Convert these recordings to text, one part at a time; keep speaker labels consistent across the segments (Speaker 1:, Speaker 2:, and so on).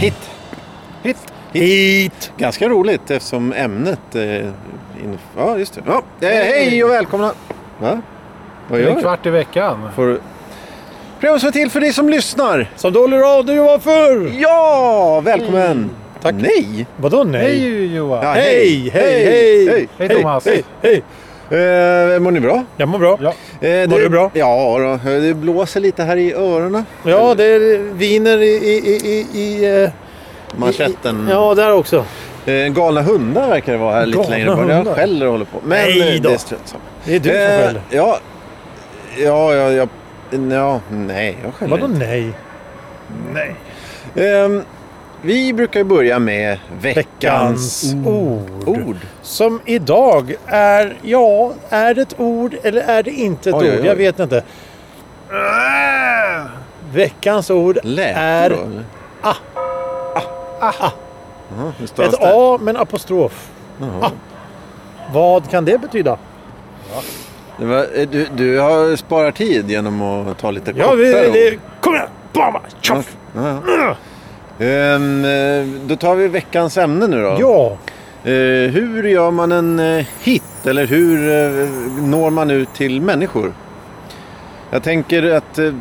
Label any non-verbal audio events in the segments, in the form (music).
Speaker 1: Hit! Hit!
Speaker 2: Hit!
Speaker 1: Ganska roligt eftersom ämnet... Eh, in... Ja, just det. Ja. Eh, hej och välkomna! Va? Vad
Speaker 2: Det
Speaker 1: gör
Speaker 2: är
Speaker 1: vi?
Speaker 2: kvart i veckan.
Speaker 1: Får du... Pröva så till för dig som lyssnar!
Speaker 2: Som dålig radio var förr!
Speaker 1: Ja! Välkommen! Mm, Tack! Nej!
Speaker 3: Vadå nej?
Speaker 2: Hej Johan!
Speaker 1: Ja,
Speaker 3: Hej, hej, hej!
Speaker 1: Hej,
Speaker 2: Hej, Thomas.
Speaker 3: Hej, hej!
Speaker 1: Eh, mår ni bra?
Speaker 3: Jag mår bra.
Speaker 2: Ja.
Speaker 3: Ja,
Speaker 1: Eh,
Speaker 3: Mår du bra?
Speaker 1: Ja, då. Eh, det blåser lite här i öronen.
Speaker 3: det är viner i... i, i, i, i eh,
Speaker 1: Manschetten.
Speaker 3: i- Ja, där också.
Speaker 1: Eh, galna hundar verkar det vara här lite
Speaker 3: Galna
Speaker 1: längre bort. Jag
Speaker 3: hundar?
Speaker 1: skäller och håller på. Men
Speaker 3: Nej
Speaker 1: eh,
Speaker 3: då.
Speaker 1: det är strunt samma.
Speaker 3: Det är du som
Speaker 1: Eh,
Speaker 3: skäller.
Speaker 1: Ja, ja, ja, ja, ja, nej, jag skäller
Speaker 3: Vadå nej?
Speaker 1: inte. Ehm, Vi brukar ju börja med veckans
Speaker 3: Veckans ord.
Speaker 1: ord.
Speaker 3: Som idag är... Ja, är det ett ord eller är det inte ett
Speaker 1: Oj,
Speaker 3: ord?
Speaker 1: oj, oj.
Speaker 3: Jag vet inte. Veckans ord
Speaker 1: Lät det
Speaker 3: är
Speaker 1: då, eller?
Speaker 3: ah.
Speaker 1: Ah. Jaha, hur stavas
Speaker 3: ett
Speaker 1: det?
Speaker 3: A med en apostrof. Ah.
Speaker 1: Jaha.
Speaker 3: Vad kan det betyda?
Speaker 1: Det var, eh, du, du har sparat tid genom att ta lite
Speaker 3: Ja, vi,
Speaker 1: kortare
Speaker 3: det,
Speaker 1: ord.
Speaker 3: kom igen! Bama!
Speaker 1: Ja,
Speaker 3: Tjoff!
Speaker 1: ja, ja. Ehm, eh, då tar vi veckans ämne nu då.
Speaker 3: Ja,
Speaker 1: Eh, hur gör man en eh, hit? Eller hur eh, når man ut till människor? Jag tänker att... Eh,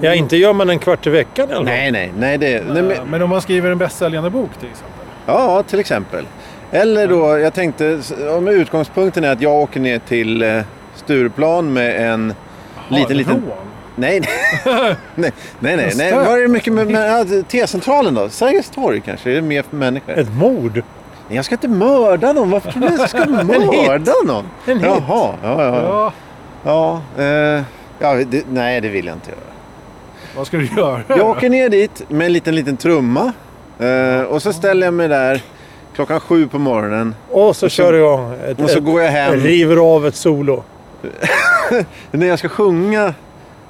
Speaker 3: ja, inte gör man en kvart i veckan i alla fall.
Speaker 1: nej, nej, nej. Det, nej
Speaker 2: Eh,
Speaker 1: men,
Speaker 2: Men om man skriver en bästsäljande bok till exempel.
Speaker 1: ja, till exempel. Eller då, jag tänkte, s- om utgångspunkten är att jag åker ner till eh, Stureplan med en liten, liten...
Speaker 2: Rån.
Speaker 1: Nej, nej, nej, nej, nej.
Speaker 2: stök.
Speaker 1: Vad är det mycket med, med ja, T-centralen då? Sergels torg kanske? Är det mer för människor?
Speaker 3: Ett mord.
Speaker 1: Nej, Jag ska inte mörda någon. Varför tror du att jag ska mörda någon?
Speaker 3: En hit.
Speaker 1: Jaha, ja, ja. ja.
Speaker 2: Ja,
Speaker 1: Ja, eh, ja det, nej det vill jag inte göra.
Speaker 2: vad ska du göra?
Speaker 1: (laughs) Jag åker ner dit med en liten, liten trumma. Eh, och så ställer jag mig där klockan sju på morgonen.
Speaker 3: Och så kör du igång. Ett,
Speaker 1: Och så
Speaker 3: ett,
Speaker 1: går jag hem.
Speaker 3: river av ett solo.
Speaker 1: När jag ska sjunga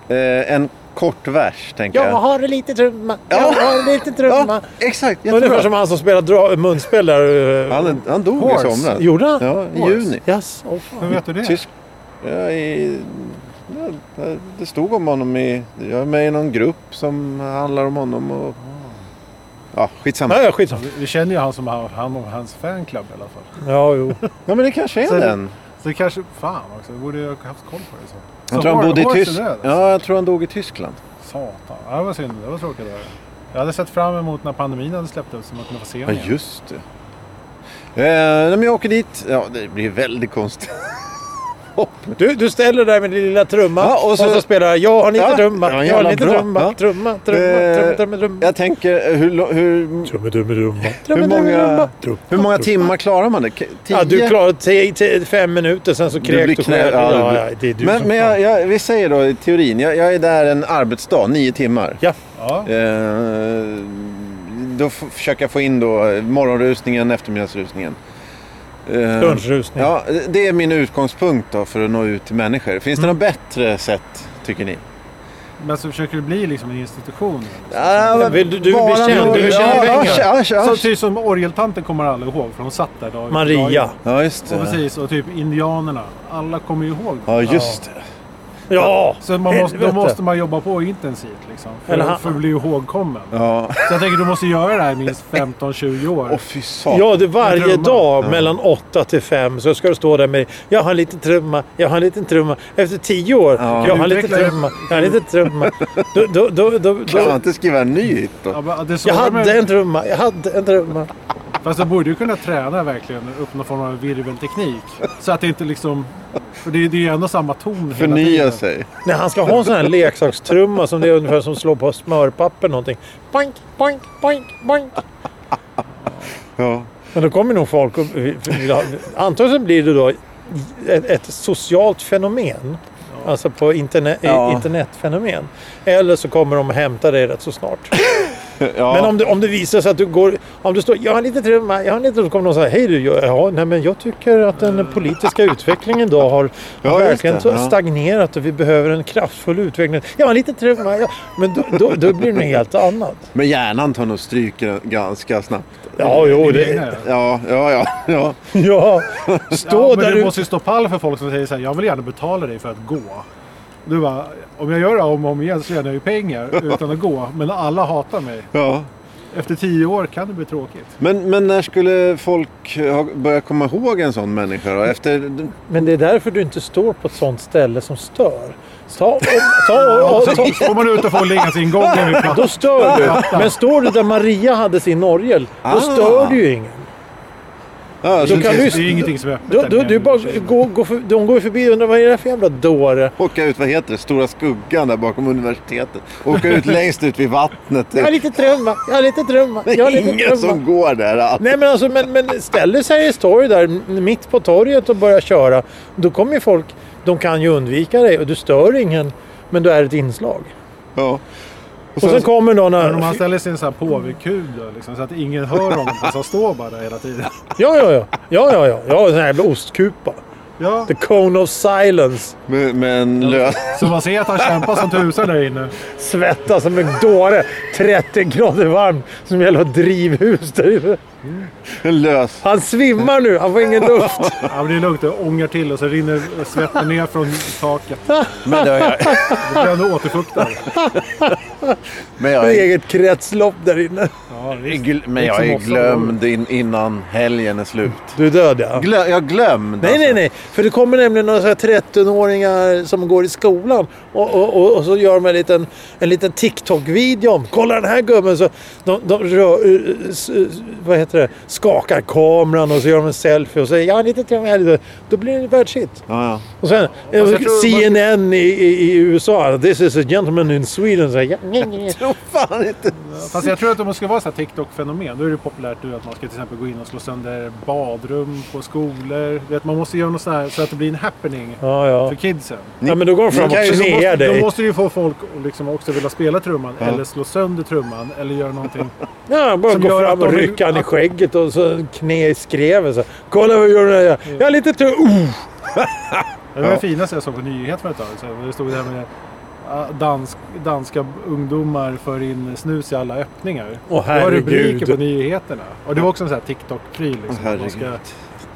Speaker 1: eh, en kort vers, tänker jag.
Speaker 3: har lite trumma.
Speaker 1: Ja.
Speaker 3: har lite
Speaker 1: Ja, exakt.
Speaker 3: Ungefär
Speaker 1: Jättebra.
Speaker 3: som han som spelade dra- munspel där. eh,
Speaker 1: Han, han dog
Speaker 2: Horse.
Speaker 1: i somras.
Speaker 3: Gjorde han?
Speaker 1: Ja, i
Speaker 2: Horse.
Speaker 1: juni.
Speaker 3: Yes. Oh, fan.
Speaker 2: Hur vet du det?
Speaker 1: Tysk. Ja, i, ja, det stod om honom i... Jag är med i någon grupp som handlar om honom och... Ja, skitsamma.
Speaker 3: Ja, ja, skitsamma.
Speaker 2: Vi- Vi känner ju han som har hand om hans fanclub i alla fall.
Speaker 3: Ja, jo.
Speaker 1: Ja, men det kanske är
Speaker 2: Så-
Speaker 1: den.
Speaker 2: Så det kanske, fan också, vi borde ju ha haft koll på det. Så.
Speaker 1: Jag
Speaker 2: Så
Speaker 1: tror han
Speaker 2: Hor-
Speaker 1: bodde i
Speaker 2: Horse är
Speaker 1: Tyskland.
Speaker 2: död, alltså.
Speaker 1: Ja, jag tror han dog i Tyskland.
Speaker 2: Satan, ja, det var synd. Det var tråkigt. Det var. det. Jag hade sett fram emot när pandemin hade släppt ut så man kunde få se
Speaker 1: Ja,
Speaker 2: honom igen.
Speaker 1: just det. Eh, nej, men jag åker dit. Ja, det blir väldigt konstigt. (laughs)
Speaker 3: Du, du ställer dig där med din lilla trumma
Speaker 1: Ja, och
Speaker 3: och,
Speaker 1: så-
Speaker 3: så, spelar jag. Jag har lite
Speaker 1: Ja,
Speaker 3: trumma.
Speaker 1: ja, jävla
Speaker 3: jag har lite
Speaker 1: bra.
Speaker 3: trumma.
Speaker 1: Ja.
Speaker 3: Trumma, trumma,
Speaker 1: Eh,
Speaker 3: trumma, trumma, trumma.
Speaker 1: Jag tänker, eh, hur, lo- hur,
Speaker 3: Trumma, trumma, trumma.
Speaker 1: hur,
Speaker 3: Trumma,
Speaker 1: många,
Speaker 3: trumma, trumma.
Speaker 1: hur många timmar klarar man det? K- Tio?
Speaker 3: Ja, du klarade te, te, fem minuter, sen så
Speaker 1: Du blir
Speaker 3: kräk du
Speaker 1: knä-
Speaker 3: själv.
Speaker 1: ja, du
Speaker 3: Ja,
Speaker 1: blir-
Speaker 3: ja, det är du
Speaker 1: Men,
Speaker 3: som
Speaker 1: men
Speaker 3: fan.
Speaker 1: jag, jag, vi säger då i teorin, jag, jag är där en arbetsdag, nio timmar.
Speaker 3: Ja.
Speaker 2: Ja.
Speaker 1: Eh, då f- försöker jag få in då morgonrusningen, eftermiddagsrusningen. Eh,
Speaker 3: Lunchrusning.
Speaker 1: Ja, det är min utgångspunkt då för att nå ut till människor. Finns
Speaker 3: Mm.
Speaker 1: det något bättre sätt, tycker ni?
Speaker 2: Men så försöker du bli liksom en institution.
Speaker 3: men vill du- du vill bli
Speaker 1: Bara
Speaker 3: känd,
Speaker 1: några-
Speaker 3: du vill tjäna
Speaker 1: ja,
Speaker 3: pengar.
Speaker 1: asch, asch, asch.
Speaker 2: Så typ som orgeltanten kommer alla ihåg för hon satt där dag ut och dag in.
Speaker 3: Maria.
Speaker 1: Ja, just
Speaker 2: Och
Speaker 1: det.
Speaker 2: precis, och typ indianerna. Alla kommer ju ihåg det.
Speaker 1: Ja, just det.
Speaker 3: Ja!
Speaker 2: Så man måste, då
Speaker 3: Helvete.
Speaker 2: måste man jobba på intensivt liksom. För,
Speaker 3: Eh, Eller han-
Speaker 2: för att bli ihågkommen.
Speaker 1: Ja.
Speaker 2: Så jag tänker du måste göra det här i minst 15-20 år.
Speaker 1: Åh, fy satan.
Speaker 3: Ja, det är varje
Speaker 2: Trumma.
Speaker 3: dag mellan 8 till 5 så ska du stå där med Jag har en liten trumma, jag har en liten trumma. Efter 10 år, jag har en liten
Speaker 2: Utveckla det.
Speaker 3: trumma, jag har en liten trumma. Då, då, då, då,
Speaker 1: Kan man
Speaker 3: då.
Speaker 1: inte skriva en ny hit då?
Speaker 2: Ja, men det är så
Speaker 3: Jag
Speaker 2: de
Speaker 3: hade
Speaker 2: är-
Speaker 3: en trumma, jag hade en trumma.
Speaker 2: Fast du borde ju kunna träna verkligen upp någon form av virvelteknik. Så att det inte liksom... För det, är- det är ju ändå samma ton hela
Speaker 1: Förnya
Speaker 2: tiden.
Speaker 1: sig.
Speaker 3: Nej, han ska ha en sån här leksakstrumma som det är ungefär som slår på smörpapper någonting. Boink, boink, boink, boink.
Speaker 1: Ja.
Speaker 3: Men då kommer nog folk och vill ha... Antagligen blir det då ett, ett socialt fenomen. Alltså på interne,
Speaker 1: Ja.
Speaker 3: internetfenomen. Eller så kommer de hämta dig rätt så snart.
Speaker 1: Ja.
Speaker 3: Men om det, om det visar sig att du går... Om du står jag har en liten trumma, jag har en liten... Så kommer någon säga, hej du, jag- ja, nej, men jag tycker att den politiska utvecklingen idag har
Speaker 1: Ja,
Speaker 3: har
Speaker 1: just
Speaker 3: verkligen
Speaker 1: det,
Speaker 3: så
Speaker 1: ja.
Speaker 3: stagnerat och vi behöver en kraftfull utveckling. Jag har en liten trumma, ja. men då, då, då blir det något helt annat.
Speaker 1: Men hjärnan tar nog stryk g- ganska snabbt.
Speaker 3: Ja, jo,
Speaker 2: Det är
Speaker 3: det...
Speaker 2: det.
Speaker 1: Ja, ja, ja. (laughs) ja.
Speaker 3: Ja, stå
Speaker 2: ja, men
Speaker 3: där
Speaker 2: du
Speaker 3: ute.
Speaker 2: måste ju stå pall för folk som säger så här, jag vill gärna betala dig för att gå. Du bara, om jag gör det om och om igen så tjänar jag ju pengar utan att gå. Men alla hatar mig.
Speaker 1: ja.
Speaker 2: Efter tio år kan det bli tråkigt.
Speaker 1: Men, men när skulle folk ha- börja komma ihåg en sån människa då? Efter...
Speaker 3: Men det är därför du inte står på ett sånt ställe som stör. Ta, och, ta, och, och, ta,
Speaker 2: Får man ut och får lingasingsgången vid
Speaker 3: då
Speaker 2: plattan.
Speaker 3: stör du. Men står du där Maria hade sin orgel,
Speaker 1: Ah.
Speaker 3: då stör du ju ingen.
Speaker 1: Ja,
Speaker 3: Då
Speaker 1: så- typ
Speaker 3: kan
Speaker 2: Det
Speaker 3: du-
Speaker 2: är ju ingenting som är öppet
Speaker 3: Då,
Speaker 2: där
Speaker 3: då,
Speaker 2: nere.
Speaker 3: du bara går, går för, de går ju förbi och undrar vad är det här för jävla dåre?
Speaker 1: Åka ut, vad heter det, Stora Skuggan där bakom universitetet. Åka (laughs) ut längst ut vid vattnet.
Speaker 3: Jag har lite trumma, jag har lite trumma,
Speaker 1: Det
Speaker 3: jag har
Speaker 1: är
Speaker 3: lite
Speaker 1: ingen som
Speaker 3: trumma.
Speaker 1: går där alls.
Speaker 3: Nej men alltså, men, men ställ dig Sergels torg där m- mitt på torget och börja köra. Då kommer ju folk, de kan ju undvika dig och du stör ingen. Men du är ett inslag.
Speaker 1: Ja.
Speaker 3: Och sen kommer någon
Speaker 2: Men om man
Speaker 3: här.
Speaker 2: ställer sin så här påvekud då, liksom, så att ingen hör honom. Så står bara där hela tiden.
Speaker 3: Ja, ja, ja. Ja, ja, ja. Ja, den här jävla ostkupa.
Speaker 2: Ja.
Speaker 3: The cone of silence.
Speaker 1: Med, med en lö... (laughs)
Speaker 2: Så man ser att han kämpar som tusan där inne.
Speaker 3: Svettas som en dåre. 30 grader varm. Som jävla drivhus där inne.
Speaker 1: en lös...
Speaker 3: Han svimmar nu. Han får (laughs) ingen luft.
Speaker 2: Ja, men det är lugnt, det ångar till och så rinner svetten ner från taket.
Speaker 1: Men det har jag,
Speaker 2: Det blir ändå återfuktad.
Speaker 1: men (laughs) jag, är-
Speaker 3: Eget kretslopp där inne.
Speaker 2: Ja, visst.
Speaker 1: gl- men jag
Speaker 2: Liksom
Speaker 1: är
Speaker 2: också-
Speaker 1: glömd in, innan helgen är slut.
Speaker 3: Du är död ja.
Speaker 1: Glö, jag glömd alltså.
Speaker 3: Nej, nej, nej. För det kommer nämligen några så här 13-åringar som går i skolan och, och, och, och så gör de en liten, en liten TikTok-video om “Kolla den här gubben!” så de, de rör, eh, s- eh, vad heter det, skakar kameran och så gör de en selfie och säger “Jag har lite till Då blir det världshit.
Speaker 1: Ja,
Speaker 3: Och sen eh,
Speaker 1: Alltså, jag tror-
Speaker 3: CNN i, i, i USA. “This is a gentleman in Sweden”. Så här, "Ja, nej, nej, nej."
Speaker 1: ja. Oh, fan inte.
Speaker 2: Fast jag tror att om man ska vara så här TikTok-fenomen, då är det populärt nu att man ska till exempel gå in och slå sönder badrum på skolor. Du Vet, man måste göra något så här så att det blir en happening
Speaker 3: Ja, ja.
Speaker 2: för kidsen.
Speaker 3: ja, men då går de fram och
Speaker 1: Ni kan ju-
Speaker 2: Så
Speaker 3: knear
Speaker 2: måste, då
Speaker 3: dig.
Speaker 2: måste du ju få folk att liksom också vilja spela trumman eller slå sönder trumman eller göra
Speaker 3: (laughs)
Speaker 2: någonting.
Speaker 3: Ja, bara
Speaker 2: Som
Speaker 3: gå
Speaker 2: gör
Speaker 3: fram
Speaker 2: att de
Speaker 3: och
Speaker 2: vill-
Speaker 3: rycka han i
Speaker 2: att-
Speaker 3: skägget och så knä i skreven. Så. Kolla vad jag gör den här. Jag är lite tur. Uh!
Speaker 2: Det var det finaste jag såg på nyhet för ett tag sedan. Det stod det här med ah, dansk, danska ungdomar för in snus i alla öppningar.
Speaker 3: Åh,
Speaker 2: det var rubriker
Speaker 3: herregud.
Speaker 2: på nyheterna. Och det var också en sån här TikTok-pryl. Liksom.
Speaker 1: Åh,
Speaker 2: man, ska,
Speaker 1: herregud.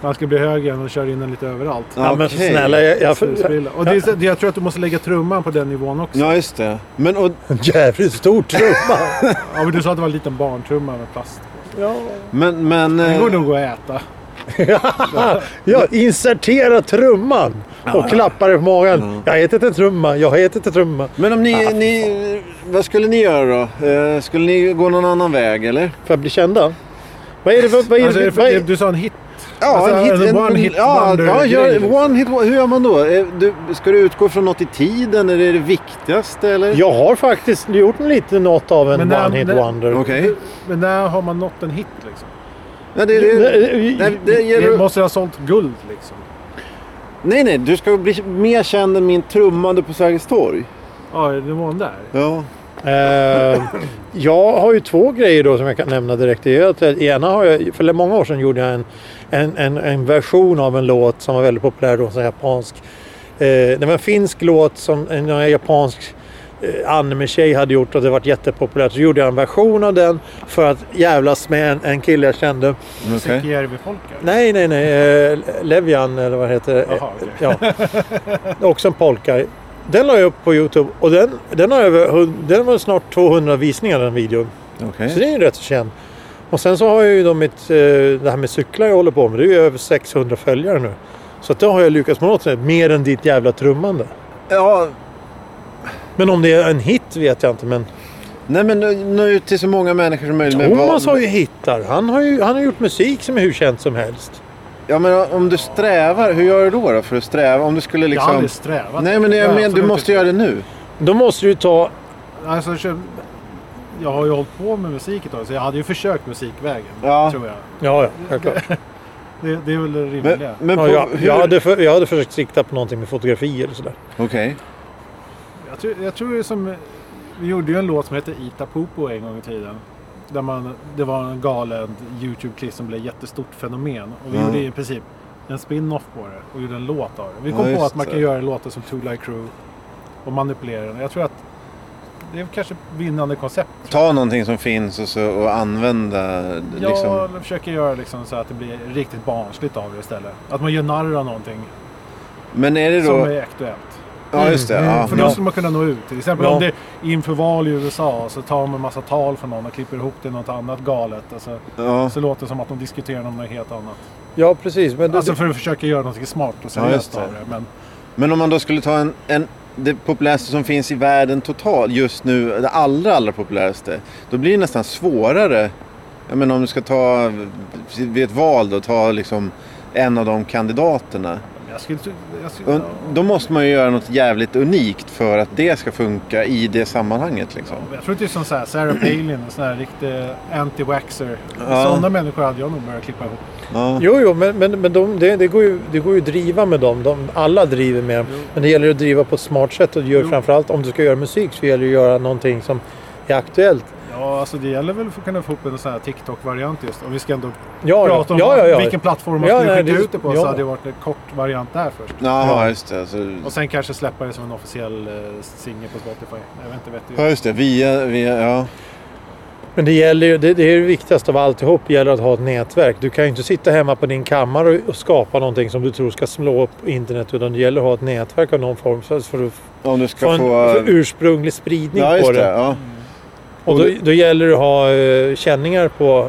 Speaker 2: man ska bli högre och köra in den lite överallt.
Speaker 3: Ja, men
Speaker 1: Okej.
Speaker 3: snälla. Jag, jag,
Speaker 2: Snusbrilla. Och det, är så- det, jag tror att du måste lägga trumman på den nivån också. Ja.
Speaker 1: Ja, just det. Men och,
Speaker 3: en (laughs) jävligt stor trumma.
Speaker 2: (laughs) men du sa att det var en liten barntrumma med plast.
Speaker 3: ja. (laughs)
Speaker 1: men... men
Speaker 2: Det
Speaker 1: eh,
Speaker 2: går nog att äta.
Speaker 3: ja, insertera trumman och klappa dig på magen. Jag har ätit en trumma. Jag har ätit en trumma.
Speaker 1: men om ni, ni... Vad skulle ni göra då? Eh, skulle ni gå någon annan väg eller?
Speaker 3: För att bli kända. Vad är det för... Vad är
Speaker 2: Alltså, är
Speaker 3: det
Speaker 2: det
Speaker 3: för vad
Speaker 2: för,
Speaker 3: är,
Speaker 2: du sa en hit.
Speaker 1: Ja,
Speaker 2: Alltså,
Speaker 1: en hit, en,
Speaker 2: en one hit
Speaker 1: ja,
Speaker 2: wonder
Speaker 1: ja,
Speaker 2: grej,
Speaker 1: gör,
Speaker 2: liksom.
Speaker 1: one hit, Hur gör man då? Eh, Du, ska du utgå från något i tiden? Är det det viktigaste? Eller?
Speaker 3: jag har faktiskt gjort en lite något av en
Speaker 2: Men när-
Speaker 3: one-hit
Speaker 2: när-
Speaker 3: wonder.
Speaker 1: Okej.
Speaker 2: Men när har man nått en hit liksom?
Speaker 1: Ja, det, det,
Speaker 3: Nej,
Speaker 1: nej, det, ger
Speaker 2: Det
Speaker 1: du-
Speaker 2: måste ha sålt guld liksom.
Speaker 1: nej, nej. Du ska bli mer känd än min trummande på Sergels torg.
Speaker 2: Ja, är det nivån där?
Speaker 1: Ja.
Speaker 3: Eh, jag har ju två grejer då som jag kan nämna direkt. Det är att det ena har jag, för många år sedan gjorde jag en, en, en, en version av en låt som var väldigt populär då, en sån här japansk. Eh, det var en finsk låt som en en japansk eh, anime-tjej hade gjort och det varit jättepopulärt. Så gjorde jag en version av den för att jävlas med en, en kille jag kände.
Speaker 1: Okej.
Speaker 2: Sekijärvi-folkar?
Speaker 3: Nej, nej, nej. Eh, Levian eller vad det heter det?
Speaker 2: Jaha, okej.
Speaker 3: ja. Också en polka. Den la jag upp på Youtube och den, den har över, hund- den var snart 200 visningar den videon. Så
Speaker 1: Okej.
Speaker 3: det är ju rätt så känd. Och sen så har jag ju då mitt, eh, det här med cyklar jag håller på med. Det är ju över 600 följare nu. Så att då har jag lyckats med något sätt. Mer än ditt jävla trummande.
Speaker 1: Ja,
Speaker 3: Men om det är en hit vet jag inte. Men
Speaker 1: nej men nu- nå ut till så många människor som möjligt. men
Speaker 3: Thomas
Speaker 1: vad-
Speaker 3: har ju hittar. Han har ju han har gjort musik som är hur känd som helst.
Speaker 1: Ja, men om du strävar, hur gör du då, då för att sträva? Om du skulle
Speaker 2: Jag har
Speaker 1: liksom...
Speaker 2: aldrig strävat.
Speaker 1: Nej, men
Speaker 2: Jag
Speaker 1: jag
Speaker 2: har
Speaker 1: men, du
Speaker 2: absolut
Speaker 1: måste
Speaker 2: inte-
Speaker 1: göra det nu.
Speaker 3: Då måste du ju ta...
Speaker 2: Alltså, kö- jag har ju hållit på med musik ett tag, så jag hade ju försökt musikvägen.
Speaker 1: Ja.
Speaker 2: Tror jag.
Speaker 3: Ja, ja. Självklart.
Speaker 2: Det, det är väl det rimliga.
Speaker 1: Men, men på,
Speaker 3: Ja, jag,
Speaker 1: hur...
Speaker 3: jag, hade för, jag hade försökt sikta på någonting med fotografi eller sådär.
Speaker 1: Okej.
Speaker 2: Jag tror, jag tror det är som... Vi gjorde ju en låt som hette Ita Popo en gång i tiden. Där man, det var en galen YouTube-klipp som blev ett jättestort fenomen. Och vi
Speaker 1: Ja.
Speaker 2: gjorde i princip en spin-off på det och gjorde en låt av det. Vi
Speaker 1: Ja,
Speaker 2: kom på
Speaker 1: just
Speaker 2: att man
Speaker 1: det.
Speaker 2: kan göra låtar som Two Light Crew och manipulera den. Jag tror att det är kanske ett vinnande koncept.
Speaker 1: Ta någonting som finns och, så, och använda
Speaker 2: Jag
Speaker 1: liksom.
Speaker 2: försöker göra liksom så att det blir riktigt barnsligt av det istället. Att man gör narr av någonting
Speaker 1: Men är det då...
Speaker 2: som är aktuellt.
Speaker 1: Ja just det.
Speaker 3: Mm,
Speaker 1: Ja,
Speaker 3: mm,
Speaker 2: För
Speaker 1: ja.
Speaker 2: då skulle man kunna nå ut. Till exempel
Speaker 3: Ja.
Speaker 2: om det är inför val i USA så tar de en massa tal från någon och klipper ihop det i något annat galet. Alltså,
Speaker 1: Ja.
Speaker 2: så låter det som att de diskuterar om något helt annat.
Speaker 3: Ja, precis. Men det,
Speaker 2: Alltså för att försöka göra någonting smart och seriöst
Speaker 1: just det.
Speaker 2: av det. Men
Speaker 1: Men om man då skulle ta en, en det populäraste som finns i världen totalt just nu, det allra, allra populäraste. Då blir det nästan svårare. Jag menar om du ska ta, vid ett val då, ta liksom en av de kandidaterna.
Speaker 2: jag skulle... Jag skulle
Speaker 1: Och då måste man ju göra något jävligt unikt för att det ska funka i det sammanhanget liksom.
Speaker 2: Jag tror inte det är som så här Sarah Palin, en sån här riktig anti-waxer.
Speaker 1: Ja.
Speaker 2: Sådana människor hade jag nog börjat klippa ihop.
Speaker 1: Ja.
Speaker 3: Jo, jo, men, men, men de, det, det, går ju, det går ju att driva med dem. De, alla driver med dem.
Speaker 2: Jo.
Speaker 3: Men det gäller att driva på ett smart sätt. Och det gör
Speaker 2: Jo.
Speaker 3: framförallt om du ska göra musik så gäller det att göra någonting som är aktuellt.
Speaker 2: Ja, alltså det gäller väl för att kunna få ihop en sån här TikTok-variant just. Och vi ska ändå
Speaker 3: Ja,
Speaker 2: prata om
Speaker 3: ja, ja, ja.
Speaker 2: vilken plattform man
Speaker 3: Ja,
Speaker 2: skulle
Speaker 3: nej,
Speaker 2: skicka
Speaker 3: det-
Speaker 2: ut det på.
Speaker 3: ja.
Speaker 2: Så hade det varit en kort variant där först.
Speaker 1: Jaha, just det. Alltså,
Speaker 2: Och sen kanske släppa det som en officiell eh, singel på Spotify. Jag vet inte, vet du.
Speaker 1: ja just det, via, via ja.
Speaker 3: Men det, gäller, ju- det, det är det viktigaste av alltihop. Det gäller att ha ett nätverk. Du kan ju inte sitta hemma på din kammare och, och skapa någonting som du tror ska slå upp på internet. Utan det gäller att ha ett nätverk av någon form för, för att
Speaker 1: Om du
Speaker 3: få
Speaker 1: ska
Speaker 3: en
Speaker 1: få...
Speaker 3: för ursprunglig spridning
Speaker 1: Ja,
Speaker 3: på
Speaker 1: just
Speaker 3: det.
Speaker 1: det. Ja.
Speaker 3: Och då, då gäller det att ha eh, känningar på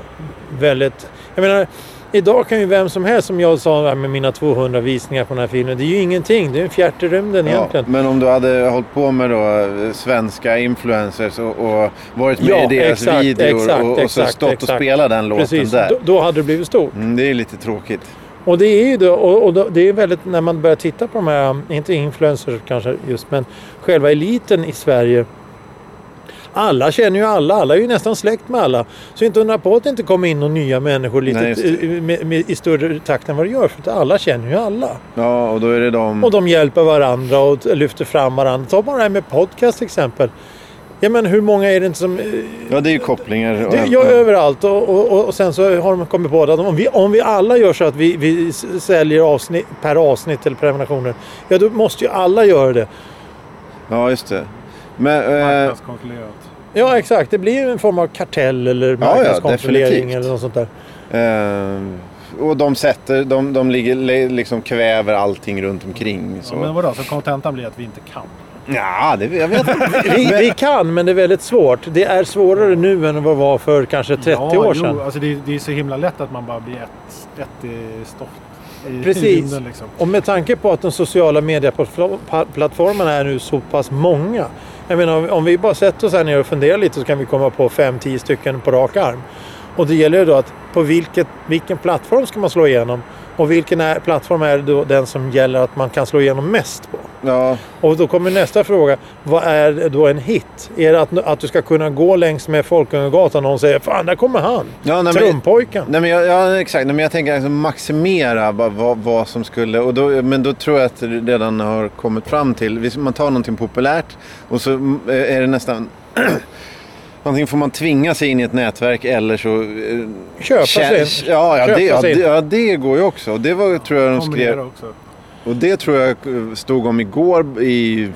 Speaker 3: väldigt... Jag menar, idag kan ju vem som helst, som jag sa här med mina 200 visningar på den här filmen, det är ju ingenting. Det är en fjärt i rymden
Speaker 1: Ja,
Speaker 3: egentligen.
Speaker 1: men om du hade hållit på med då, eh, svenska influencers och, och varit med
Speaker 3: Ja,
Speaker 1: i deras
Speaker 3: exakt,
Speaker 1: videor
Speaker 3: exakt,
Speaker 1: och, och så
Speaker 3: exakt,
Speaker 1: stått och
Speaker 3: exakt.
Speaker 1: spelat den låten
Speaker 3: Precis,
Speaker 1: där.
Speaker 3: då, då hade det blivit stort.
Speaker 1: Mm, det är lite tråkigt.
Speaker 3: Och det är ju då, och, och då, det är väldigt, när man börjar titta på de här, um, inte influencers kanske just, men själva eliten i Sverige. Alla känner ju alla, alla är ju nästan släkt med alla. Så inte undra på att det inte kommer in några nya människor lite,
Speaker 1: Nej, just det.
Speaker 3: eh, med, med, i större takt än vad det gör. För att alla känner ju alla.
Speaker 1: Ja, och då är det de...
Speaker 3: Och de hjälper varandra och t- lyfter fram varandra. Ta bara det här med podcast till exempel. Ja men hur många är det inte som... eh,
Speaker 1: Ja, det är ju kopplingar. och-
Speaker 3: Det, ja, överallt och, och, och, och sen så har de kommit på det att om vi, om vi alla gör så att vi, vi s- säljer avsnitt, per avsnitt eller prenumerationer. Ja då måste ju alla göra det.
Speaker 1: ja, just det. Men, eh,
Speaker 2: Marknadskontrollerat.
Speaker 3: Ja exakt, det blir ju en form av kartell eller
Speaker 1: ja,
Speaker 3: marknadskontrollering
Speaker 1: definitivt.
Speaker 3: eller något sånt där.
Speaker 1: eh, och de sätter, de, de ligger, le- liksom kväver allting runt omkring. Så.
Speaker 2: Ja, men vadå, så kontentan blir att vi inte kan?
Speaker 1: Ja, det, jag vet inte.
Speaker 3: (laughs) Vi, vi kan men det är väldigt svårt. Det är svårare nu än vad det var för kanske 30
Speaker 2: ja, jo,
Speaker 3: år sedan.
Speaker 2: Alltså det, är- det är så himla lätt att man bara blir ett, ett i stoft. I
Speaker 3: Precis.
Speaker 2: rymden, liksom.
Speaker 3: Och med tanke på att de sociala medieplattformarna är nu så pass många. Jag menar om- om vi bara sätter oss här ner och funderar lite så kan vi komma på 5-10 stycken på rak arm. Och det gäller ju då att på vilket, vilken plattform ska man slå igenom? Och vilken är, plattform är då den som gäller att man kan slå igenom mest på?
Speaker 1: Ja,
Speaker 3: Och då kommer nästa fråga. Vad är då en hit? Är det att, att du ska kunna gå längs med Folkungagatan och någon säger Fan, där kommer han!
Speaker 1: ja nej, men-
Speaker 3: Trumpojken!
Speaker 1: Nej, men jag, ja, exakt. Nej, men jag tänker alltså maximera vad, vad, vad som skulle... Och då, men då tror jag att det redan har kommit fram till... Visst, Man tar någonting populärt och så mm, är det nästan... (clears throat) Antingen får man tvinga sig in i ett nätverk eller så... eh,
Speaker 3: Köpa sig
Speaker 1: kä- ja, ja,
Speaker 3: Köpa
Speaker 1: det, ja,
Speaker 3: sig
Speaker 1: det,
Speaker 3: in.
Speaker 1: ja, det går ju också. Och Det var, tror jag de
Speaker 2: Kombinera
Speaker 1: skrev...
Speaker 2: Också.
Speaker 1: Och det tror jag eh, stod om igår i,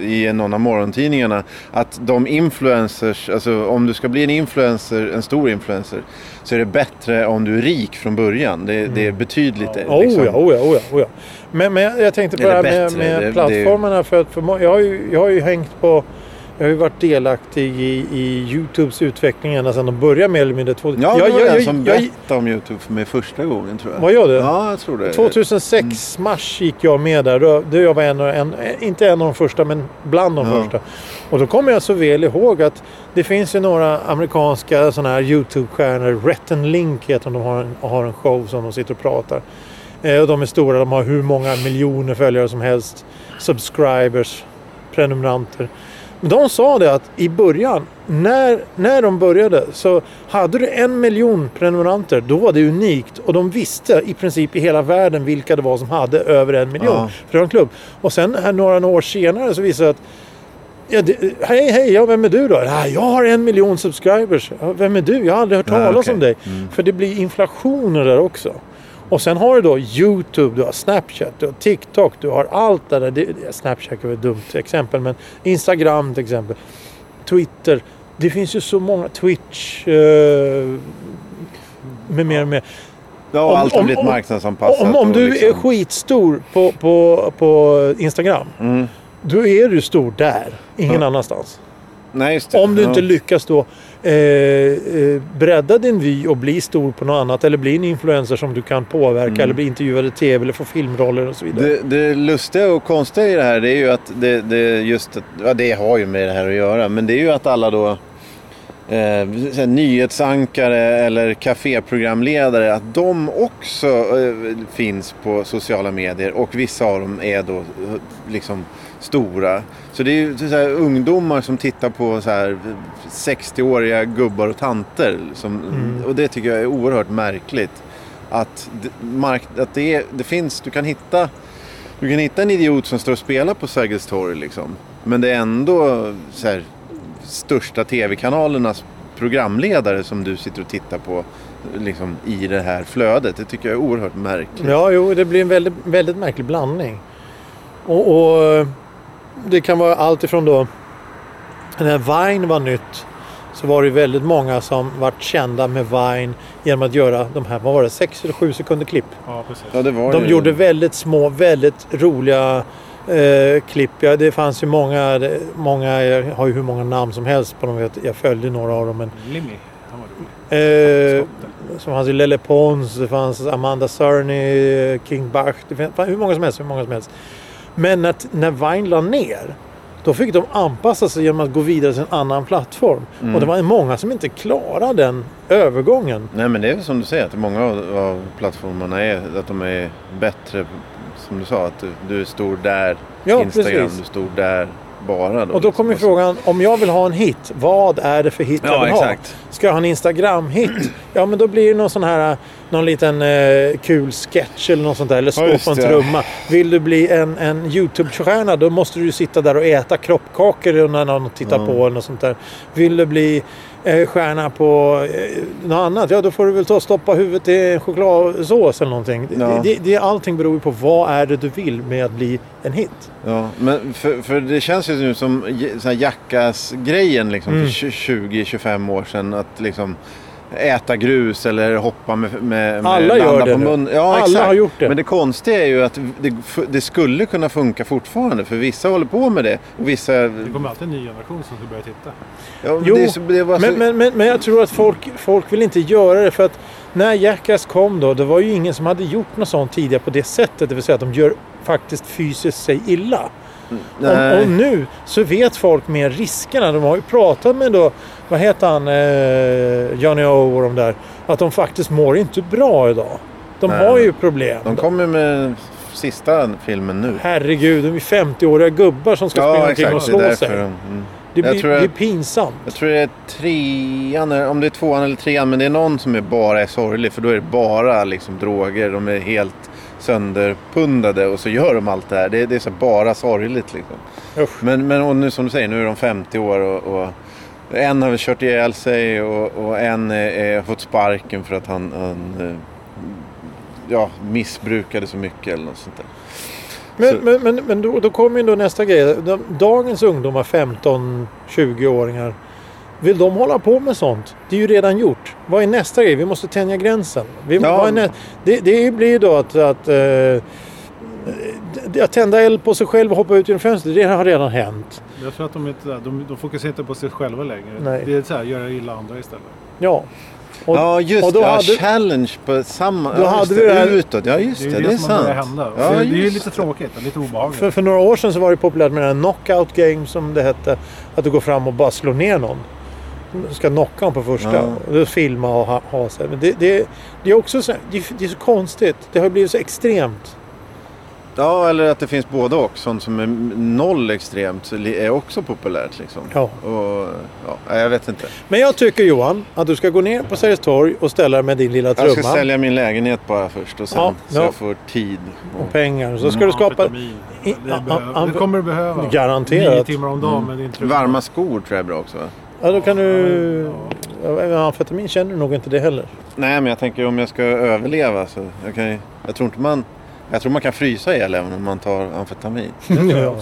Speaker 1: i någon av morgontidningarna. Att de influencers, alltså om du ska bli en influencer, en stor influencer, så är det bättre om du är rik från början. Det, det är betydligt. eh,
Speaker 3: Oh,
Speaker 1: liksom.
Speaker 3: ja, oh, ja, oh, ja, oh, ja. Men, men jag- jag tänkte på det
Speaker 1: Eller
Speaker 3: här med,
Speaker 1: bättre, det-
Speaker 3: med
Speaker 1: det-
Speaker 3: plattformarna. För att för, må- jag, har ju, jag har ju hängt på... Jag har ju varit delaktig i, i Youtubes utveckling ända sedan de började med eller mindre. Två,
Speaker 1: Ja, det
Speaker 3: jag,
Speaker 1: var
Speaker 3: jag,
Speaker 1: den
Speaker 3: jag,
Speaker 1: som
Speaker 3: jag,
Speaker 1: berättade om YouTube för mig första gången tror jag.
Speaker 3: Vad gör du?
Speaker 1: Ja, jag tror det. Mm.
Speaker 3: 2006 mars gick jag med där. Då, då jag var en, av- en, inte en av de första, men bland de
Speaker 1: Ja.
Speaker 3: första. Och då kommer jag så väl ihåg att det finns ju några amerikanska sådana här YouTube-stjärnor. Retten Link heter de. De har en, har en show som de sitter och pratar. Eh, och de är stora. De har hur många miljoner följare som helst. Subscribers, prenumeranter. Men de sa det att i början, när, när de började, så hade du en miljon prenumeranter, då var det unikt. Och de visste i princip i hela världen vilka det var som hade över en miljon.
Speaker 1: Ja.
Speaker 3: För det var en klubb. Och sen här några år senare så visade det att Ja, det, hej, hej, ja, vem är du då? Ja, jag har en miljon subscribers. Ja, vem är du? Jag har aldrig hört
Speaker 1: Ja,
Speaker 3: talas
Speaker 1: okej. Mm.
Speaker 3: om dig. För det blir inflationer där också. Och sen har du då YouTube, du har Snapchat, du har TikTok, du har allt det där. Det, det- Snapchat är väl ett dumt exempel, men Instagram till exempel. Twitter. Det finns ju så många. Twitch. Eh, med mer och mer.
Speaker 1: Ja, och
Speaker 3: Om-
Speaker 1: allt har
Speaker 3: om-
Speaker 1: blivit
Speaker 3: om-
Speaker 1: marknadsanpassat.
Speaker 3: Om, om
Speaker 1: och
Speaker 3: du
Speaker 1: liksom-
Speaker 3: är skitstor på, på, på Instagram.
Speaker 1: Mm.
Speaker 3: Då är du stor där. Ingen annanstans.
Speaker 1: Nej, just det.
Speaker 3: Om du inte
Speaker 1: Ja.
Speaker 3: lyckas då eh, eh, bredda din vy och bli stor på något annat eller bli en influencer som du kan påverka eller bli intervjuad i tv eller få filmroller och så vidare.
Speaker 1: Mm. Det, det lustiga och konstiga i det här det är ju att det, det just, att- ja det har ju med det här att göra, men det är ju att alla då eh, så här, nyhetsankare eller kaféprogramledare, att de också eh, finns på sociala medier och vissa av dem är då eh, liksom stora. Så det är ju så här, ungdomar som tittar på så här 60-åriga gubbar och tanter. Som,
Speaker 3: Mm.
Speaker 1: Och det tycker jag är oerhört märkligt. Att, d- mark- att det, är, det finns, du kan hitta du kan hitta en idiot som står och spelar på Sergels torg liksom. Men det är ändå så här, största tv-kanalernas programledare som du sitter och tittar på liksom, i det här flödet. Det tycker jag är oerhört märkligt.
Speaker 3: Ja, jo, det blir en väldigt, väldigt märklig blandning. Och, och eh, det kan vara allt ifrån då när Vine var nytt så var det väldigt många som vart kända med Vine genom att göra de här, vad var det, sex eller sju sekunder klipp.
Speaker 2: Ja, precis.
Speaker 1: Ja, det var
Speaker 3: De
Speaker 1: ju-
Speaker 3: gjorde väldigt små, väldigt roliga eh, klipp. Ja, det fanns ju många, det- många, jag har ju hur många namn som helst på dem. Jag- Jag följde några av dem. Men,
Speaker 2: Limmy, han var rolig.
Speaker 3: eh,
Speaker 2: Skotten.
Speaker 3: som fanns ju Lelle Pons, det fanns Amanda Cerny, eh, King Bach. Det fanns hur många som helst, hur många som helst. Men att, när Vine la ner, då fick de anpassa sig genom att gå vidare till en annan plattform.
Speaker 1: Mm.
Speaker 3: Och det var många som inte klarade den övergången.
Speaker 1: Nej men det är väl som du säger att många av, av plattformarna är att de är bättre som du sa att du, du är stor där
Speaker 3: Ja,
Speaker 1: Instagram,
Speaker 3: precis.
Speaker 1: du är stor där bara då.
Speaker 3: Och då kommer
Speaker 1: liksom.
Speaker 3: frågan, om jag vill ha en hit, vad är det för hit jag
Speaker 1: Ja,
Speaker 3: vill
Speaker 1: exakt.
Speaker 3: ha? Ska jag ha en Instagram-hit? Ja, men då blir det någon sån här, någon liten eh, kul sketch eller något sånt där. Eller
Speaker 1: Ja,
Speaker 3: stå
Speaker 1: just
Speaker 3: på en
Speaker 1: det.
Speaker 3: trumma. Vill du bli en, en YouTube-stjärna, då måste du ju sitta där och äta kroppkakor när någon tittar på eller något sånt där. Vill du bli eh, stjärna på eh, något annat, ja då får du väl ta och stoppa huvudet i en chokladsås eller någonting.
Speaker 1: Ja.
Speaker 3: Det, det, allting beror ju på vad är det du vill med att bli en hit.
Speaker 1: Ja, men för, för det känns ju nu som j- sån här Jackass-grejen liksom,
Speaker 3: Mm.
Speaker 1: för 20-25 år sedan. Att liksom äta grus eller hoppa med, med, med
Speaker 3: Alla gör det
Speaker 1: på
Speaker 3: nu.
Speaker 1: mun. Ja,
Speaker 3: Alla
Speaker 1: exakt.
Speaker 3: har gjort det.
Speaker 1: Men det konstiga är ju att det, det skulle kunna funka fortfarande. För vissa håller på med det. Och vissa... Ja,
Speaker 2: Det kommer alltid en ny generation som ska börja titta.
Speaker 1: men
Speaker 3: Jo,
Speaker 1: det är så, det var så,
Speaker 3: Men, men, men, men jag tror att folk, folk vill inte göra det för att när Jackass kom då, det var ju ingen som hade gjort något sånt tidigare på det sättet. Det vill säga att de gör faktiskt fysiskt sig illa.
Speaker 1: nej.
Speaker 3: Och, och nu så vet folk mer riskerna. De har ju pratat med då, vad heter han, eh, Johnny O och de där. Att de faktiskt mår inte bra idag. De
Speaker 1: Nej.
Speaker 3: har ju problem.
Speaker 1: De kommer med sista filmen nu.
Speaker 3: Herregud, de är 50-åriga gubbar som ska springa
Speaker 1: Ja,
Speaker 3: omkring
Speaker 1: exakt.
Speaker 3: och
Speaker 1: Det är
Speaker 3: slå
Speaker 1: därför.
Speaker 3: sig.
Speaker 1: de- Mm.
Speaker 3: Det
Speaker 1: Jag
Speaker 3: blir,
Speaker 1: tror jag-
Speaker 3: det är pinsamt.
Speaker 1: Jag tror det är trean, eller- om det är tvåan eller trean, men det är någon som är bara är sorglig för då är det bara liksom droger, de är helt sönderpundade och så gör de allt det här. Det, det är så bara sorgligt liksom.
Speaker 3: Usch.
Speaker 1: Men, men och nu som du säger, nu är de 50 år och, och en har väl kört ihjäl sig och, och en eh, eh, har fått sparken för att han, han eh, ja, missbrukade så mycket eller något sånt där.
Speaker 3: Men,
Speaker 1: Så-
Speaker 3: men, men, men då, då kommer ju då nästa grej. De, dagens ungdomar, 15-20-åringar, vill de hålla på med sånt? Det är ju redan gjort. Vad är nästa grej? Vi måste tänja gränsen. Vi,
Speaker 1: Ja.
Speaker 3: vad är nä- det, det blir ju då att, att, eh, det- att tända eld på sig själv och hoppa ut genom fönstret, det har redan hänt.
Speaker 2: Jag tror att de, inte, de, de fokuserar inte på sig själva längre.
Speaker 3: Nej.
Speaker 2: Det är så här, göra illa andra istället.
Speaker 3: Ja. Och,
Speaker 1: ja, just
Speaker 3: och
Speaker 1: det.
Speaker 3: då
Speaker 1: Ja,
Speaker 3: hade-
Speaker 1: challenge på samma...
Speaker 3: Då
Speaker 1: ja, just
Speaker 3: hade vi det här-
Speaker 1: Utåt, ja just det. Det, är
Speaker 2: som har börjat
Speaker 1: sant.
Speaker 2: hända.
Speaker 1: Ja,
Speaker 2: det, det är ju
Speaker 1: just
Speaker 2: lite tråkigt och lite obehagligt.
Speaker 3: För, för några år sedan så var det populärt med den här knockout game som det hette. Att du går fram och bara slår ner någon. Du ska knocka honom på första.
Speaker 1: Ja.
Speaker 3: Och då filma och ha, ha sig. Men det, det, det är också så, här- det, är- det är så konstigt. Det har blivit så extremt.
Speaker 1: Ja, eller att det finns både och. Sånt som är noll extremt är också populärt. Liksom.
Speaker 3: Ja.
Speaker 1: Och, ja, jag vet inte.
Speaker 3: Men jag tycker Johan att du ska gå ner på Sergels torg och ställa dig med din lilla
Speaker 1: Jag ska
Speaker 3: trumma
Speaker 1: sälja min lägenhet bara först och sen
Speaker 3: Ja,
Speaker 1: så
Speaker 3: ja.
Speaker 1: jag får tid.
Speaker 3: och pengar. Så ska du skapa...
Speaker 2: Amfetamin.
Speaker 3: I-
Speaker 2: Det,
Speaker 3: a-
Speaker 2: behöver-
Speaker 3: a-
Speaker 2: det kommer du behöva.
Speaker 3: Garanterat.
Speaker 2: Nio timmar om dagen med din
Speaker 1: Och
Speaker 2: trumma.
Speaker 1: varma skor tror jag är bra också. va?
Speaker 3: Ja, då kan du... Ja, amfetamin känner du nog inte det (laughs) heller.
Speaker 1: Nej, men jag tänker om jag ska överleva så jag kan ju- jag tror inte man... Jag tror man kan frysa ihjäl även om man tar amfetamin.
Speaker 3: Ja.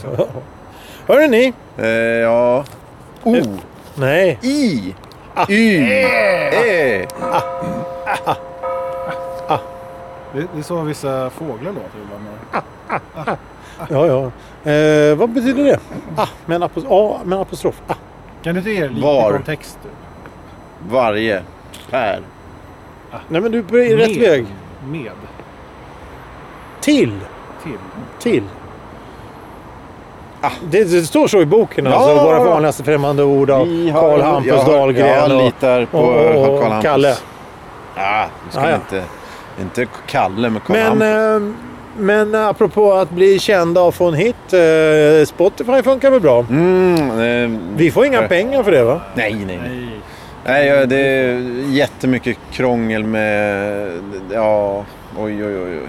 Speaker 3: Hörru ni!
Speaker 1: Eh, ja... Oh. O!
Speaker 3: Nej.
Speaker 1: I! Y! eh. E. Ä!
Speaker 2: Det, det är så vissa fåglar låter ibland.
Speaker 3: Ja, ja. Eh, vad betyder det? Ah, med en apos- ah, med en apostrof. Ah.
Speaker 2: Kan du inte ge det lite
Speaker 1: Var?
Speaker 2: kontext? du?
Speaker 1: Varje. Per.
Speaker 3: Nej, men du är på rätt
Speaker 2: Med-
Speaker 3: väg.
Speaker 2: Med.
Speaker 3: Till.
Speaker 2: Till.
Speaker 3: Till. Ah, det, det står så i boken. Alltså,
Speaker 1: Ja.
Speaker 3: våra vanligaste främmande ord av
Speaker 1: Vi har-
Speaker 3: Karl Hampus
Speaker 1: jag har-
Speaker 3: Dahlgren
Speaker 1: Jag
Speaker 3: och,
Speaker 1: litar på
Speaker 3: och- och
Speaker 1: Karl Hampus.
Speaker 3: Kalle.
Speaker 1: Ja, vi ska
Speaker 3: Ah, ja.
Speaker 1: inte... Inte Kalle, men Karl
Speaker 3: Men,
Speaker 1: Hampus.
Speaker 3: eh, men apropå att bli kända och få en hit. Eh, Spotify funkar väl bra?
Speaker 1: Mm, eh,
Speaker 3: eh, Vi får inga
Speaker 1: eh,
Speaker 3: pengar för det va?
Speaker 1: Nej, nej, nej.
Speaker 2: Nej.
Speaker 1: nej ja, det är jättemycket krångel med... Ja, oj, oj, oj. oj.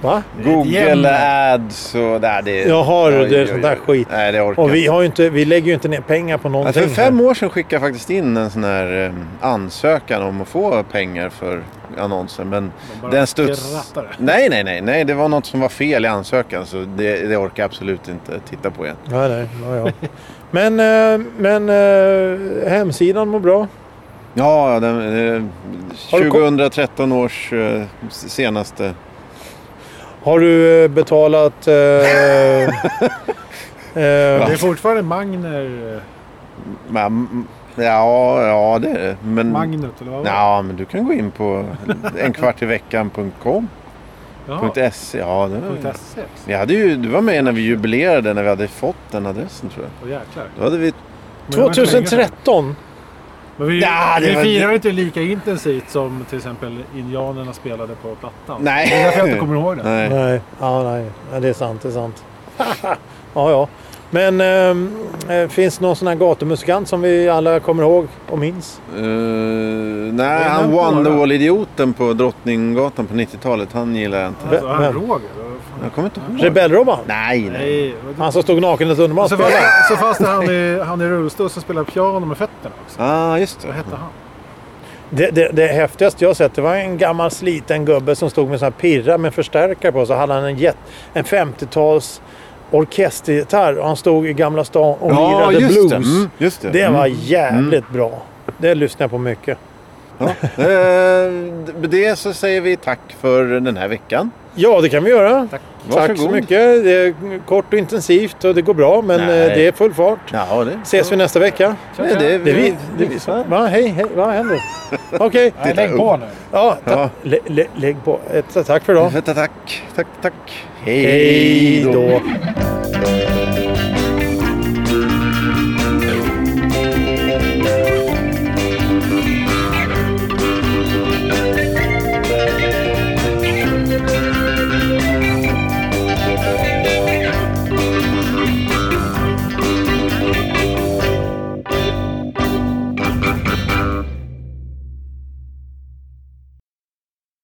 Speaker 3: Va?
Speaker 1: Google
Speaker 2: jämmer.
Speaker 1: ads och... Nej, det,
Speaker 3: Jaha, det är sånt där skit.
Speaker 1: Nej, det orkar
Speaker 3: Och vi,
Speaker 1: inte.
Speaker 3: har ju inte, vi lägger ju inte ner pengar på
Speaker 1: Ja,
Speaker 3: någonting.
Speaker 1: för Alltså, fem år sedan skickade jag faktiskt in en sån här eh, ansökan om att få pengar för annonsen. Men
Speaker 2: De bara
Speaker 1: den studs...
Speaker 2: skrattade.
Speaker 1: Nej, nej, nej, nej. Det var något som var fel i ansökan. Så det, det orkar jag absolut inte titta på igen.
Speaker 3: Nej, nej. Ja, ja. Men, eh, men eh, hemsidan mår bra.
Speaker 1: Ja, ja, den, eh,
Speaker 3: Har du ko-
Speaker 1: 2013 års eh, senaste...
Speaker 3: Har du eh,
Speaker 1: (laughs)
Speaker 3: betalat... Eh, eh,
Speaker 2: Det är fortfarande Magner...
Speaker 1: Ja, m- ja, ja det är det. Men,
Speaker 2: Magnet eller vad var det?
Speaker 1: Mm. Ja, men du kan gå in på enkvartiveckan.com.
Speaker 2: Jaha.
Speaker 1: .se. Ja, det
Speaker 2: Punkt
Speaker 1: var...
Speaker 2: .se.
Speaker 1: Vi hade ju, du var med när vi jubilerade när vi hade fått den adressen tror jag.
Speaker 2: Åh jäklar.
Speaker 1: Då hade vi...
Speaker 2: Men det var inte länge sedan.
Speaker 3: 2013?
Speaker 2: Men vi,
Speaker 1: Ja, det
Speaker 2: vi
Speaker 1: var-
Speaker 2: firar ju inte lika intensivt som till exempel indianerna spelade på plattan.
Speaker 1: Nej.
Speaker 2: Det är därför jag inte kommer ihåg det.
Speaker 1: Nej.
Speaker 3: Nej. Ja, nej. Ja, det är sant. Det är sant. (laughs) ja, ja. Men ehm, eh, finns det någon sån här gatumusikant som vi alla kommer ihåg och minns?
Speaker 1: Eh,
Speaker 2: Det
Speaker 1: nej,
Speaker 2: är
Speaker 1: han
Speaker 2: den bara.
Speaker 1: Wonderwall-idioten på Drottninggatan på 90-talet, han gillar jag inte.
Speaker 2: Alltså, han
Speaker 3: Vem?
Speaker 2: Roger. vad fan-
Speaker 1: Jag kommer inte ihåg.
Speaker 3: Rebell-Robban?
Speaker 1: Nej, Alltså, nej.
Speaker 2: Nej. vad-
Speaker 3: Han som stod naken i ett
Speaker 2: Och
Speaker 3: underband
Speaker 2: Så, var, så fanns det han i, han i rullstol som spelade piano med fötterna också.
Speaker 1: Ah, just det.
Speaker 2: Vad hette han?
Speaker 3: Det, det, det häftigaste jag sett det var en gammal sliten gubbe som stod med sån här pirra med förstärkare på. Så hade han en, jet, en 50-tals orkestergitarr och han stod i Gamla stan och
Speaker 1: Ja,
Speaker 3: lirade
Speaker 1: just
Speaker 3: blues.
Speaker 1: det.
Speaker 3: Det,
Speaker 1: Mm, just det.
Speaker 3: var
Speaker 1: Mm.
Speaker 3: jävligt bra. Det lyssnade jag på mycket.
Speaker 1: Ja. Eh, med det så säger vi tack för den här veckan.
Speaker 3: Ja, det kan vi göra.
Speaker 2: Tack.
Speaker 3: Tack så
Speaker 1: Varsågod.
Speaker 3: mycket. Det är kort och intensivt och det går bra men
Speaker 1: Nej.
Speaker 3: eh, det är full fart.
Speaker 1: Ja, det...
Speaker 3: Ses vi nästa vecka?
Speaker 1: Nej, det, är
Speaker 3: Det är vi.
Speaker 1: vi.
Speaker 3: Det är vi. som- Va? Hej, hej. Vad
Speaker 1: (laughs)
Speaker 3: händer? Okej.
Speaker 2: Nej, lägg på nu.
Speaker 3: Ja, ta-
Speaker 1: Ja.
Speaker 3: Lä, lä, lägg på. Ett, tack för idag.
Speaker 1: Vänta, tack. Tack, tack.
Speaker 3: Hej
Speaker 1: Hej
Speaker 3: då.
Speaker 1: då.